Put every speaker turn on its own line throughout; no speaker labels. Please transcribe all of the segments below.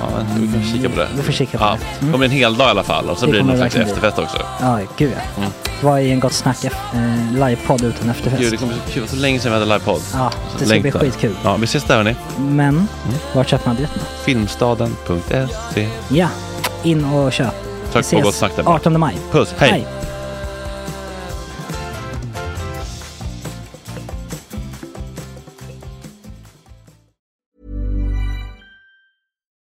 Ja, vi kan kika på det.
Mm. Vi får kika på
Ja,
det. Mm.
det kommer bli en hel dag i alla fall och så
Det
blir det
kommer
någon slags
verkligen bli.
efterfest också.
Ja, gud ja. Vad är en gott snack eh, livepodd utan efterfest?
Mm. Gud, det kommer bli så kul. Det var så länge sedan vi hade livepodd.
Ja, det ska
Längtar. Mm.
bli skitkul.
Ja, vi ses där hörni.
Men, vart köper man biljetterna?
Filmstaden.se.
Ja, in och köp. Vi
Tack på gott snack där bara.
18 maj.
Puss, hej!
Hej.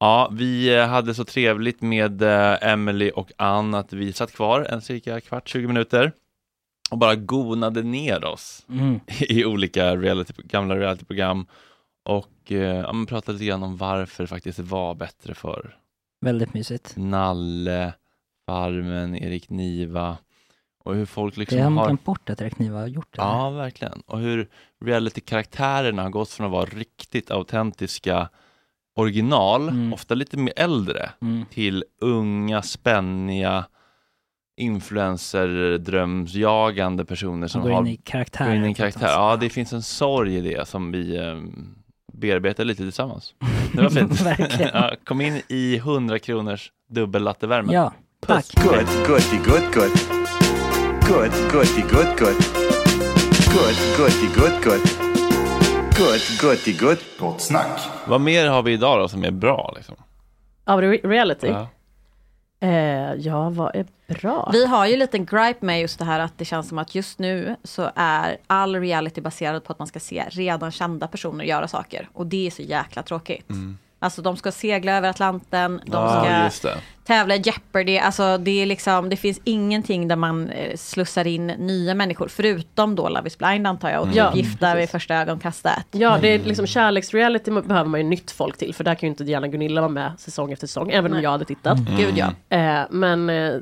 Ja, vi eh, hade så trevligt med eh, Emily och Ann att vi satt kvar en cirka kvart, 20 minuter och bara gonade ner oss
Mm.
i olika reality, gamla realityprogram och eh, ja, men pratade lite grann om varför det faktiskt var bättre för
Väldigt mysigt.
Nalle, Farmen, Erik Niva och hur folk
Det är
liksom
en,
har...
en port att Räkniva har gjort det.
Ja, verkligen. Och hur reality-karaktärerna har gått från att vara riktigt autentiska original,
Mm.
ofta lite mer äldre,
Mm.
till unga, spänniga influencer-drömsjagande personer som
Som går
har
in i karaktär.
går in i en karaktär. Ja, det finns en sorg i det som vi eh, bearbeta lite tillsammans. Det var fint.
Verkligen.
ja, kom in i 100 kronors dubbellattevärme.
Ja,
Puss.
tack.
Good, goody, good, good. Good, goody, good, good. Good, goody, good, good. Good, goody, good.
Gott snack.
Vad mer har vi idag då som är bra? Liksom?
Av re- reality?
Typ,
Ja.
Eh, ja, vad är bra?
Vi har ju en liten gripe med just det här att det känns som att just nu så är all reality baserad på att man ska se redan kända personer göra saker. Och det är så jäkla tråkigt. Alltså de ska segla över Atlanten, de
Mm. Ja,
ska
just det.
tävla i Jeopardy. Alltså det är liksom, det finns ingenting där man eh, slussar in nya människor. Förutom då Love is blind antar jag, och typ
Mm. Ja,
gifta vid första ögonkastet.
Ja, det är liksom kärleksreality ma- behöver man ju nytt folk till, för där kan ju inte Diana Gunilla vara med säsong efter säsong, även om jag hade tittat.
Mm. Gud ja.
Eh, men eh,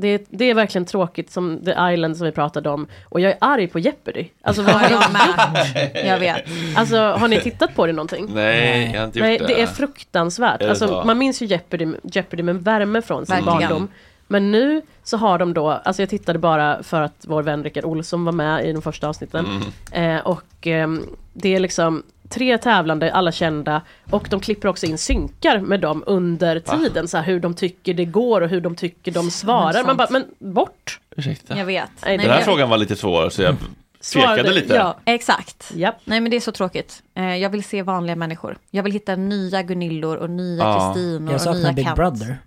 det, det är verkligen tråkigt, som The Island som vi pratade om, och jag är arg på Jeopardy. Alltså, vad har,
Ja,
de,
jag med. Jag vet.
alltså har ni tittat på det någonting?
Nej, jag har inte gjort
Nej,
det.
det är fruktansvärt.
Är det
alltså,
så?
man minns ju Jeopardy, Jeopardy med värme från sin
Verkligen.
barndom. Men nu så har de då, alltså jag tittade bara för att vår vän Rickard Olsson var med i de första avsnitten.
Mm.
Eh, och ehm, det är liksom tre tävlande, alla kända. Och de klipper också in synkar med dem under tiden. Så här, hur de tycker det går och hur de tycker de svarar. Man bara, men bort!
Ursäkta.
Jag vet.
Nej,
Nej,
Den här
jag-
frågan var lite svår, så jag
Svarade-
tvekade lite.
ja.
Exakt.
Japp.
Nej men det är så tråkigt. Eh, jag vill se vanliga människor. Jag vill hitta nya Gunillor och nya
Ja.
Kristinor
Jag
och nya
saknar Big
Kent.
Brother.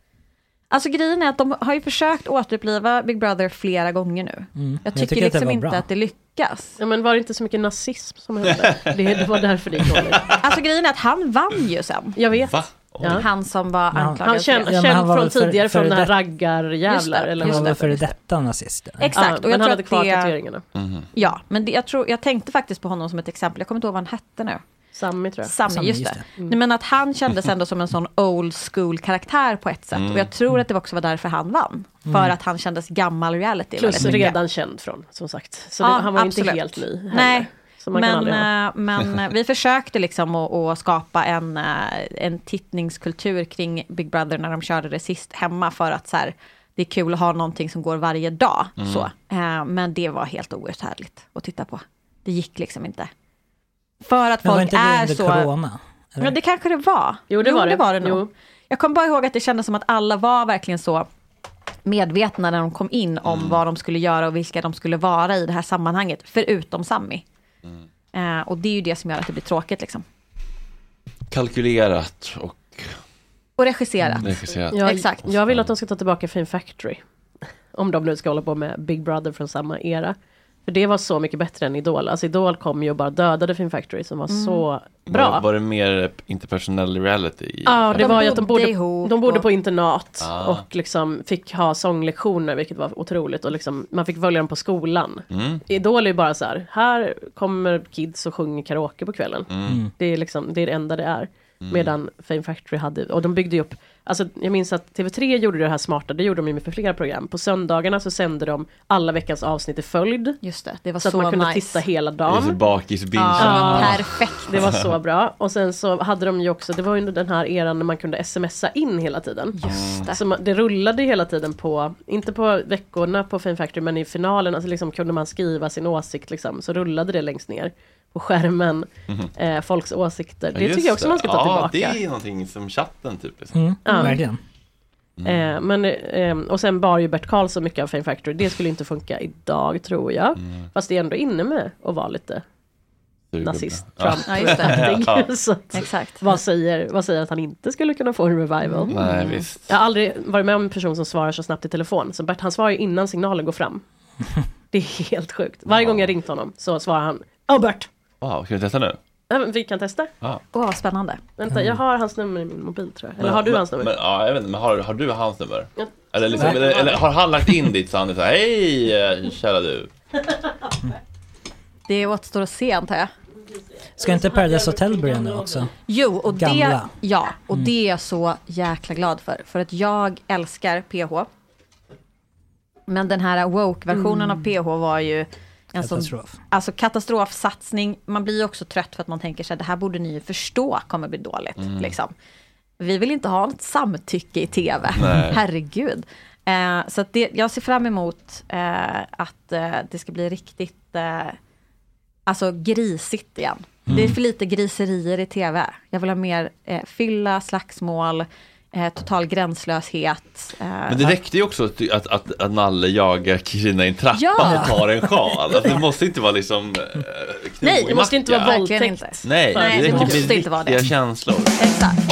Alltså grejen är att de har ju försökt återuppliva Big Brother flera gånger nu. Jag tycker,
Mm. tycker att det
liksom
var
inte
bra.
att det lyckas.
Ja, men var det inte så mycket nazism som hände? Det, det var därför det gick dåligt.
Alltså grejen är att han vann ju sen.
Jag vet.
Va?
Ja.
Han som var anklagad
Han känd,
för det.
men
känd
han var
från
väl för-
tidigare,
före
från den
det-
här
Just det,
raggarjävlar. eller
just
Han var
vad
det.
före detta nazist. eller?
Exakt,
Ja,
och jag
men han
tror
hade
att
kvar
det...
tatueringarna.
Ja, men det, jag, tror, jag tänkte faktiskt på honom som ett exempel. Jag kommer inte ihåg vad han hette nu.
Sammy tror jag.
Sammy, just det. Nej, men att han kändes ändå som en sån old school karaktär på ett sätt. Och jag tror att det också var därför han vann. För att han kändes gammal reality.
Plus
väldigt mycket.
redan känd från, som sagt. Så det,
Ja,
han var ju inte
absolut.
helt ny heller.
Nej,
Så man kan
Men,
aldrig ha.
eh, men eh, vi försökte liksom att, att skapa en, eh, en tittningskultur kring Big Brother när de körde det sist hemma för att så här, det är kul att ha någonting som går varje dag.
Mm.
Så. Eh, Men det var helt outhärdligt att titta på. Det gick liksom inte. För att
Men var
folk
inte det
är
under
så...
corona? eller?
Ja, det kanske det var.
Jo, det var det.
var det nog.
Jo.
Jag kommer bara ihåg att det kändes som att alla var verkligen så medvetna när de kom in om vad de skulle göra och vilka de skulle vara i det här sammanhanget, förutom Sammy. Eh, och det är ju det som gör att det blir tråkigt liksom.
Kalkylerat och
Och regisserat.
Mm. regisserat.
jag,
exakt.
jag vill att de ska ta tillbaka Fame Factory. Om de nu ska hålla på med Big Brother från samma era. För det var så mycket bättre än Idol. Alltså Idol kom ju och bara dödade Fame Factory som var
Mm.
så bra.
Var, var det mer interpersonell reality? i-
Ja, det
De
var ju att de
bodde
bodde,
ihop
de bodde
och-
på internat
Ah.
och liksom fick ha sånglektioner, vilket var otroligt. Och liksom, man fick följa dem på skolan.
Mm.
Idol är ju bara så här, här kommer kids och sjunger karaoke på kvällen.
Mm.
Mm.
Det, är liksom, det är det enda det är. Medan Fame Factory hade, och de byggde ju upp, alltså jag minns att TV3 gjorde det här smarta, det gjorde de ju med för flera program. På söndagarna så sände de alla veckans avsnitt i följd.
Just det, det var
Så,
så,
att man kunde
nice.
titta hela
Det är
dagen.
så bakisbingen.
Ja, perfekt.
Det var så bra. Och sen så hade de ju också, det var ju under den här eran när man kunde smsa in hela tiden.
Just det.
Så man, det rullade ju hela tiden på, inte på veckorna på Fame Factory, men i finalen alltså liksom kunde man skriva sin åsikt liksom, så rullade det längst ner på skärmen, eh, folks åsikter. Det
Just
tycker jag också man ska ta
Mhm. ja,
tillbaka.
det är någonting som chatten typ. Mm. Liksom.
Mm, Verkligen.
Eh, men, eh, och sen bar ju Bert Karlsson mycket av Fame Factory, det skulle inte funka idag tror jag.
Mm.
Fast det är ändå inne med att vara lite
Superbra.
nazist,
Typ Ja.
Trump.
Ja, just det.
så att,
Exakt. Mm.
vad, säger, vad säger att han inte skulle kunna få en revival?
Nej, visst.
Jag har aldrig varit med om en person som svarar så snabbt i telefon. Så Bert, han svarar ju innan signalen går fram. Det är helt sjukt. Varje gång jag ringt honom så svarar han Ja Bert!
Wow, ska vi testa nu?
Ja, men Vi kan testa.
Åh, vad spännande.
Vänta, jag har hans nummer i min mobil tror jag. Eller har du
Mm. Men-
hans nummer?
Men, ja, jag vet inte, men har, har du hans nummer?
Jag-
Eller, liksom, eller, eller har han lagt in ditt så han är så här, hej eh, kära du.
Det återstår att se antar jag.
Ska inte Paradise Hotel börja nu också?
Jo, och det,
Gamla.
ja, och det är jag så jäkla glad för. För att jag älskar PH. Men den här woke-versionen
Mm.
av PH var ju en sån
Katastrof.
alltså katastrofsatsning. Man blir ju också trött för att man tänker sig det här borde ni ju förstå kommer bli dåligt.
Mm.
Liksom. Vi vill inte ha något samtycke i tv. Herregud. Eh, så att det, jag ser fram emot eh, att eh, det ska bli riktigt eh, alltså grisigt igen. Det är
Mm.
för lite griserier i tv. Jag vill ha mer eh, fylla, slagsmål, eh, total gränslöshet. eh,
Men det räckte ju också att, att, att, att Nalle jagar Kristina i en trappa
Ja.
och tar en sjal. Alltså, det måste inte vara liksom eh,
Nej, det måste inte vara
knivmacka.
våldtäkt.
Verkligen inte.
Nej,
Nej,
det
det
räcker
måste
med
inte vara det.
riktiga känslor.
Exakt.